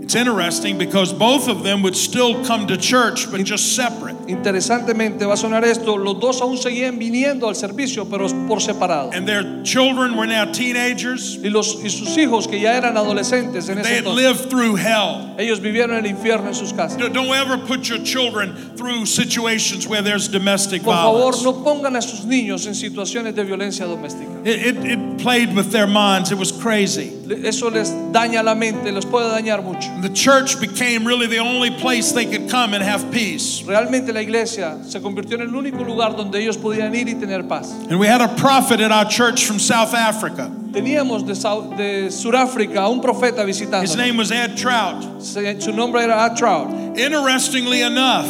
Speaker 2: it's interesting because both of them would still come to church, but just separate.
Speaker 3: Interesantemente va a sonar esto, los dos aún seguían viniendo al servicio, pero por separado.
Speaker 2: And their children were now teenagers.
Speaker 3: Y, los, y sus hijos, que ya eran adolescentes en
Speaker 2: They
Speaker 3: ese
Speaker 2: had
Speaker 3: entonces,
Speaker 2: lived through hell.
Speaker 3: ellos vivieron el infierno en sus casas.
Speaker 2: No, Don't ever put your children through situations where there's domestic
Speaker 3: Por favor,
Speaker 2: violence.
Speaker 3: no pongan a sus niños en situaciones de violencia doméstica.
Speaker 2: It, it, it played with their minds. It was crazy.
Speaker 3: Le- Eso les daña la mente, los puede dañar mucho.
Speaker 2: And the church became really the only place they could come and have peace.
Speaker 3: Realmente la iglesia se convirtió en el único lugar donde ellos podían ir y tener paz.
Speaker 2: And we had a prophet at our church from South Africa.
Speaker 3: Teníamos de, Sau- de Sudáfrica a un profeta
Speaker 2: His
Speaker 3: visitando.
Speaker 2: name was Ed Trout.
Speaker 3: Su nombre era Art Trout.
Speaker 2: Interestingly enough,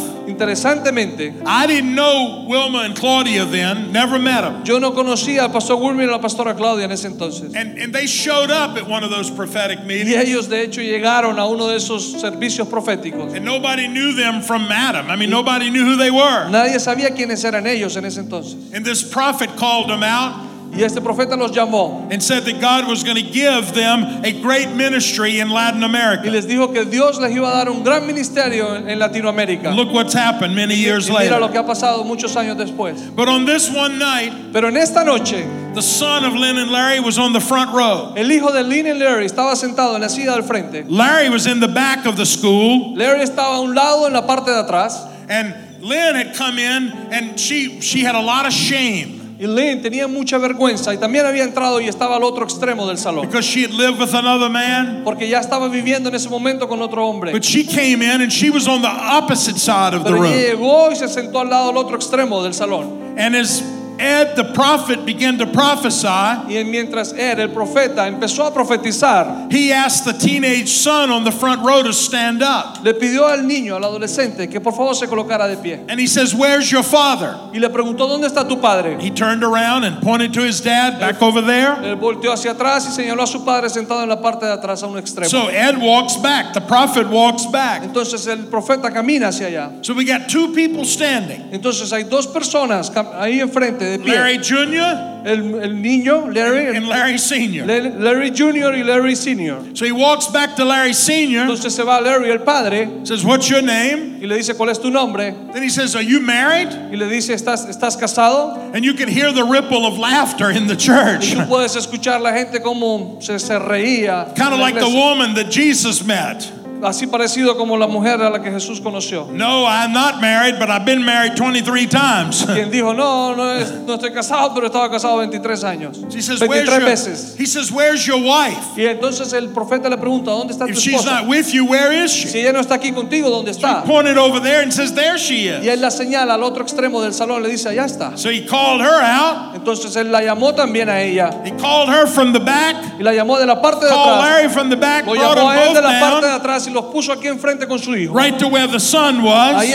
Speaker 3: Interesantemente,
Speaker 2: I didn't know Wilma and Claudia then, never met them.
Speaker 3: Yo no conocía al pastor Wilmer y a la pastora Claudia en ese entonces.
Speaker 2: And, and they showed up at one of those prophetic
Speaker 3: Y
Speaker 2: meetings,
Speaker 3: ellos de hecho llegaron a uno de esos servicios proféticos.
Speaker 2: and nobody knew them from Adam. I mean, nobody knew who they were.
Speaker 3: Nadie sabía quiénes eran ellos en ese entonces.
Speaker 2: And this prophet called them out
Speaker 3: Y este profeta los llamó
Speaker 2: and said that God was going to give them a great ministry in Latin
Speaker 3: y
Speaker 2: America.
Speaker 3: les dijo que Dios les iba a dar un gran ministerio en en Latinoamérica.
Speaker 2: And look what's happened many
Speaker 3: Y
Speaker 2: years
Speaker 3: mira lo
Speaker 2: later.
Speaker 3: que ha pasado muchos años después.
Speaker 2: But on this one night,
Speaker 3: Pero en esta noche,
Speaker 2: the son of Lynn and Larry was on the front row.
Speaker 3: el hijo de Lynn y Larry estaba sentado en la silla del frente.
Speaker 2: Larry was in the back of the school.
Speaker 3: Larry estaba a un lado en la parte de atrás
Speaker 2: And Lynn had come in and she she had a lot of shame
Speaker 3: y Lynn tenía mucha vergüenza y también había entrado y estaba al otro extremo del salón.
Speaker 2: because she had lived with another man.
Speaker 3: porque ya estaba viviendo en ese momento con otro hombre.
Speaker 2: But she came in and she was on the opposite side of the
Speaker 3: Pero ella
Speaker 2: room.
Speaker 3: llegó y se sentó al lado del otro extremo del salón.
Speaker 2: And as Ed the prophet began to prophesy,
Speaker 3: Y mientras él, el profeta, empezó a profetizar,
Speaker 2: he asked the teenage son on the front row to stand up.
Speaker 3: le pidió al niño, al adolescente, que por favor se colocara de pie.
Speaker 2: And he says, "Where's your father?"
Speaker 3: Y le preguntó, ¿dónde está tu padre?
Speaker 2: He turned around and pointed to his dad back over there.
Speaker 3: Él volteó hacia atrás y señaló a su padre sentado en la parte de atrás a un extremo.
Speaker 2: So Ed walks back. The prophet walks back.
Speaker 3: Entonces el profeta camina hacia allá.
Speaker 2: So we got two people standing.
Speaker 3: Entonces hay dos personas cam- ahí enfrente de pie.
Speaker 2: Larry Jr.
Speaker 3: El, el niño, Larry,
Speaker 2: and
Speaker 3: el-
Speaker 2: Larry Sr.
Speaker 3: Le- Larry Jr. y Larry Sr.
Speaker 2: So he walks back to Larry Sr.,
Speaker 3: Entonces se va Larry, el padre,
Speaker 2: says, What's your name?
Speaker 3: y le dice, ¿cuál es tu nombre?
Speaker 2: Then he says, Are you married?
Speaker 3: Y le dice, ¿estás, estás casado?
Speaker 2: And you can hear the ripple of laughter in the
Speaker 3: Y
Speaker 2: church. *laughs*
Speaker 3: tú puedes escuchar la gente como se, se reía. en
Speaker 2: kind
Speaker 3: la
Speaker 2: of like the
Speaker 3: iglesia.
Speaker 2: woman that Jesus met.
Speaker 3: Así parecido como la mujer a la que Jesús conoció.
Speaker 2: No, I'm not married, but I've been married 23
Speaker 3: *laughs*
Speaker 2: times.
Speaker 3: Quien dijo, no, no, es- no estoy casado, pero estaba casado 23 años.
Speaker 2: She says,
Speaker 3: 23
Speaker 2: Where's your,
Speaker 3: veces.
Speaker 2: he says, Where's your wife?
Speaker 3: Y entonces el profeta le pregunta, ¿dónde está tu
Speaker 2: If she's
Speaker 3: esposa?
Speaker 2: not with you, where is she?
Speaker 3: Si ella no está aquí contigo, ¿dónde está?
Speaker 2: Pointed over there and says, There she
Speaker 3: Y
Speaker 2: is.
Speaker 3: él la señala al otro extremo del salón, le dice, allá está.
Speaker 2: So he called her out.
Speaker 3: Entonces él la llamó también a ella
Speaker 2: He called her from the back.
Speaker 3: y Y la llamó de la parte de
Speaker 2: Called
Speaker 3: atrás.
Speaker 2: Larry from the back,
Speaker 3: Lo
Speaker 2: brought
Speaker 3: llamó a él de
Speaker 2: them
Speaker 3: la
Speaker 2: both
Speaker 3: parte de
Speaker 2: down,
Speaker 3: atrás y los puso aquí enfrente con su hijo.
Speaker 2: right to where the sun
Speaker 3: Ahí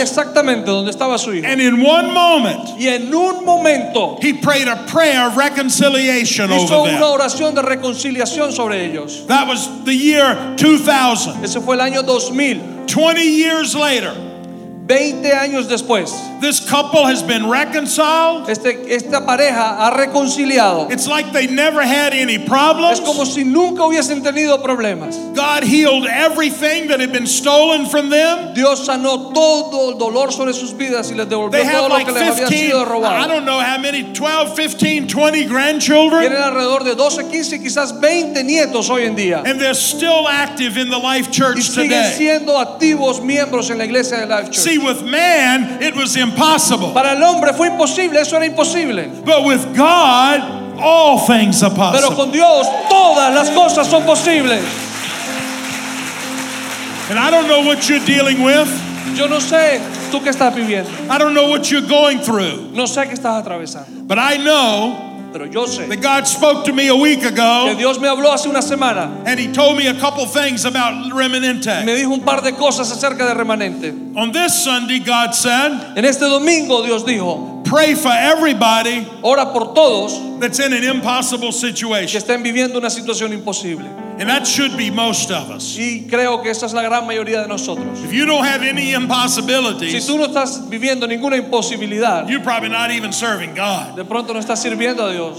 Speaker 2: was.
Speaker 3: exactamente donde estaba su hijo.
Speaker 2: And in one moment,
Speaker 3: Y en un momento
Speaker 2: he prayed a prayer of reconciliation
Speaker 3: hizo
Speaker 2: over
Speaker 3: una
Speaker 2: them.
Speaker 3: oración de reconciliación sobre ellos.
Speaker 2: That was the year 2000.
Speaker 3: Ese fue el año 2000,
Speaker 2: 20 years later,
Speaker 3: 20 años después.
Speaker 2: this couple has been reconciled.
Speaker 3: Este, esta pareja ha reconciliado.
Speaker 2: It's like they never had any
Speaker 3: Es como
Speaker 2: problems.
Speaker 3: si nunca hubiesen tenido problemas.
Speaker 2: God healed everything that had been stolen from them.
Speaker 3: Dios sanó todo el dolor sobre sus vidas y les devolvió
Speaker 2: They
Speaker 3: todo
Speaker 2: have
Speaker 3: lo
Speaker 2: like
Speaker 3: que les había
Speaker 2: 15,
Speaker 3: sido
Speaker 2: I
Speaker 3: robado.
Speaker 2: don't know how many, 12, 15, 20 grandchildren.
Speaker 3: Tienen alrededor de 12, 15, quizás 20 nietos hoy en día.
Speaker 2: And they're still active in the Life
Speaker 3: Y
Speaker 2: Church
Speaker 3: siguen
Speaker 2: today.
Speaker 3: siendo activos miembros en la iglesia de Life Church.
Speaker 2: See, with man, it was impossible.
Speaker 3: Para el hombre fue imposible, eso era imposible.
Speaker 2: But with God, all things are
Speaker 3: Pero
Speaker 2: possible.
Speaker 3: con Dios todas las cosas son posibles.
Speaker 2: And I don't know what you're dealing with,
Speaker 3: Yo no sé tú qué estás viviendo,
Speaker 2: I don't know what you're going through.
Speaker 3: no sé qué estás atravesando,
Speaker 2: But I know
Speaker 3: pero yo sé
Speaker 2: that God spoke to me a week
Speaker 3: que
Speaker 2: ago
Speaker 3: Dios me habló hace una semana.
Speaker 2: and He told me a couple things about
Speaker 3: Me
Speaker 2: Remanente.
Speaker 3: dijo un par de cosas acerca de remanente.
Speaker 2: On this Sunday, God said,
Speaker 3: En este domingo Dios dijo,
Speaker 2: pray for everybody
Speaker 3: ora por todos
Speaker 2: that's in an impossible
Speaker 3: que
Speaker 2: situation.
Speaker 3: estén viviendo una situación imposible.
Speaker 2: And that should be most of us.
Speaker 3: Y creo que esa es la gran mayoría de nosotros.
Speaker 2: If you don't have any
Speaker 3: Si
Speaker 2: impossibilities,
Speaker 3: tú no estás viviendo ninguna imposibilidad,
Speaker 2: You're probably not even serving God.
Speaker 3: de pronto no estás sirviendo a Dios.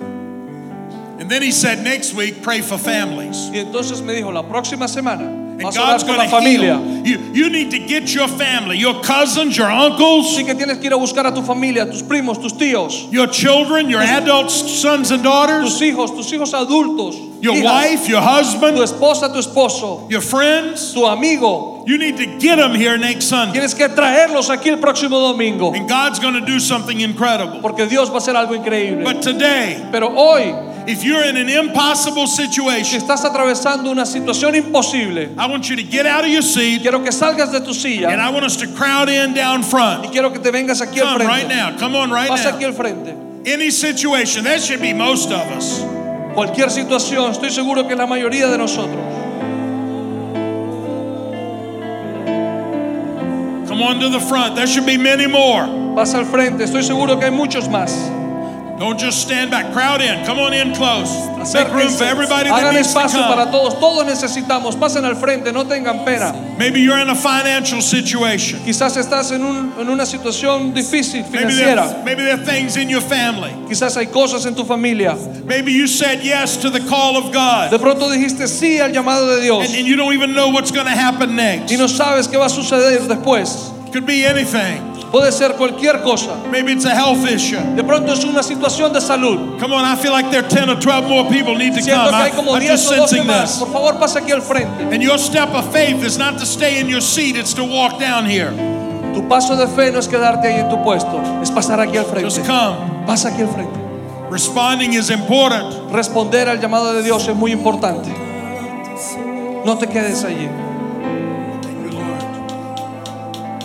Speaker 2: And then he said, next week, pray for families.
Speaker 3: Y entonces me dijo, la próxima semana
Speaker 2: And
Speaker 3: vas a orar
Speaker 2: God's
Speaker 3: con
Speaker 2: going to
Speaker 3: la familia.
Speaker 2: heal. You, you need to get your family, your cousins, your uncles,
Speaker 3: Así que tienes que ir a buscar a tu familia, tus primos, tus tíos,
Speaker 2: your children, your adult sons and
Speaker 3: tus
Speaker 2: daughters,
Speaker 3: hijos, tus hijos adultos,
Speaker 2: your
Speaker 3: hijas,
Speaker 2: wife, your
Speaker 3: tu
Speaker 2: husband,
Speaker 3: esposa, tu esposo,
Speaker 2: your friends.
Speaker 3: tu amigo.
Speaker 2: You need to get them here next Sunday.
Speaker 3: Tienes que traerlos aquí el próximo domingo,
Speaker 2: And God's going to do something incredible.
Speaker 3: porque Dios va a hacer algo increíble.
Speaker 2: But today,
Speaker 3: Pero hoy,
Speaker 2: if you're in an impossible
Speaker 3: si
Speaker 2: situation,
Speaker 3: estás atravesando una situación imposible,
Speaker 2: I want you to get out of your seat
Speaker 3: quiero que salgas de tu
Speaker 2: and
Speaker 3: silla
Speaker 2: I want us to crowd in down
Speaker 3: y
Speaker 2: front.
Speaker 3: quiero que te vengas aquí al
Speaker 2: Come right
Speaker 3: frente.
Speaker 2: now. Come on right
Speaker 3: Pasa
Speaker 2: now.
Speaker 3: aquí al frente.
Speaker 2: any situation. That should be most of us.
Speaker 3: Cualquier situación, estoy seguro que la mayoría de nosotros.
Speaker 2: Come on to the front. There should be many more.
Speaker 3: Pasa al frente, estoy seguro que hay muchos más.
Speaker 2: Don't just stand back. Crowd in. Come on in close. Make room for
Speaker 3: Acérquense.
Speaker 2: everybody that
Speaker 3: Hagan
Speaker 2: needs to
Speaker 3: espacio para
Speaker 2: come.
Speaker 3: todos. Todos necesitamos. Pasen al frente, no tengan pena.
Speaker 2: Maybe you're in a financial situation.
Speaker 3: Quizás estás en, un- en una situación difícil
Speaker 2: Maybe there,
Speaker 3: financiera.
Speaker 2: maybe there are things in your family.
Speaker 3: Quizás hay cosas en tu familia.
Speaker 2: Maybe you said yes to the call of God
Speaker 3: De pronto dijiste sí al llamado de Dios
Speaker 2: and, and you don't even know what's going to happen next.
Speaker 3: y no sabes qué va a suceder después.
Speaker 2: Could be anything.
Speaker 3: Puede ser cualquier cosa.
Speaker 2: Maybe it's a health issue.
Speaker 3: De pronto es una situación de salud.
Speaker 2: Come on, I feel like there are 10 or 12 more people need to come.
Speaker 3: Siento que
Speaker 2: I,
Speaker 3: hay como
Speaker 2: I'm
Speaker 3: 10
Speaker 2: just
Speaker 3: o 12
Speaker 2: sensing
Speaker 3: más.
Speaker 2: this.
Speaker 3: Por favor, pasa aquí al frente.
Speaker 2: And your step of faith is not to stay in your seat, it's to walk down here.
Speaker 3: Tu paso de fe no es quedarte ahí en tu puesto, es pasar aquí al frente.
Speaker 2: Just come.
Speaker 3: Pasa aquí al frente.
Speaker 2: Responding is important.
Speaker 3: Responder al llamado de Dios es muy importante. No te quedes allí.
Speaker 2: Thank you, Lord.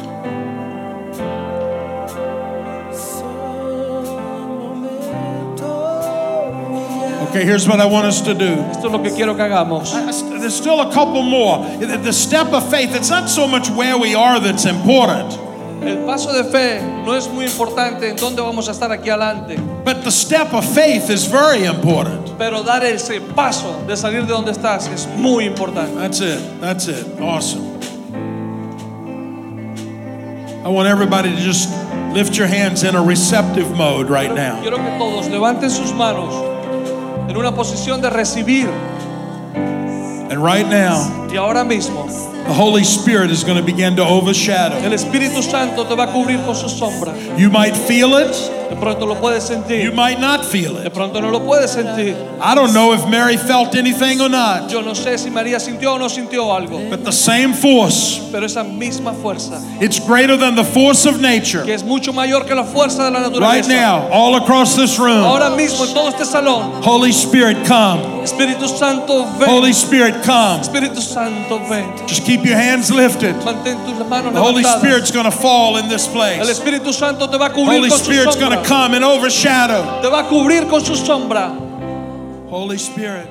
Speaker 2: Okay, here's what I want us to do.
Speaker 3: Esto es lo que quiero que hagamos.
Speaker 2: I- I st- There's still a couple more. The the step of faith, it's not so much where we are that's important,
Speaker 3: El paso de fe no es muy importante en dónde vamos a estar aquí adelante,
Speaker 2: but the step of faith is very important.
Speaker 3: pero dar ese paso de salir de donde estás es muy importante.
Speaker 2: That's it. That's it. Awesome. I want everybody to just lift your hands in a receptive mode right now.
Speaker 3: Quiero que todos levanten sus manos en una posición de recibir
Speaker 2: And right now,
Speaker 3: y ahora mismo
Speaker 2: the Holy Spirit is going to begin to overshadow.
Speaker 3: el Espíritu Santo te va a cubrir con su sombra.
Speaker 2: You might feel it,
Speaker 3: De pronto lo puedes
Speaker 2: you
Speaker 3: sentir,
Speaker 2: might not feel
Speaker 3: de
Speaker 2: it.
Speaker 3: pronto no lo puedes sentir.
Speaker 2: I don't know if Mary felt anything or not,
Speaker 3: Yo no sé si María sintió o no sintió algo.
Speaker 2: but the same force,
Speaker 3: pero esa misma fuerza
Speaker 2: it's greater than the force of
Speaker 3: que
Speaker 2: nature.
Speaker 3: es mucho mayor que la fuerza de la
Speaker 2: Right
Speaker 3: naturaleza.
Speaker 2: now, all across this room,
Speaker 3: Ahora mismo en todo este salón,
Speaker 2: Holy Spirit, come.
Speaker 3: Espíritu Santo ven,
Speaker 2: Holy Spirit, come.
Speaker 3: Espíritu Santo ven.
Speaker 2: Just keep your hands lifted.
Speaker 3: Mantén tus manos
Speaker 2: The Holy
Speaker 3: levantadas.
Speaker 2: Spirit's going to fall in this
Speaker 3: El
Speaker 2: place.
Speaker 3: Espíritu Santo te va a cubrir
Speaker 2: Holy
Speaker 3: con su
Speaker 2: Spirit's going
Speaker 3: sombra.
Speaker 2: to come and overshadow.
Speaker 3: Te va a cubrir con su sombra.
Speaker 2: Holy Spirit.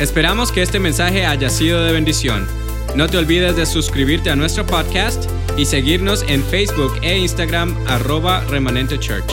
Speaker 1: Esperamos que este mensaje haya sido de bendición. No te olvides de suscribirte a nuestro podcast y seguirnos en Facebook e Instagram arroba Remanente Church.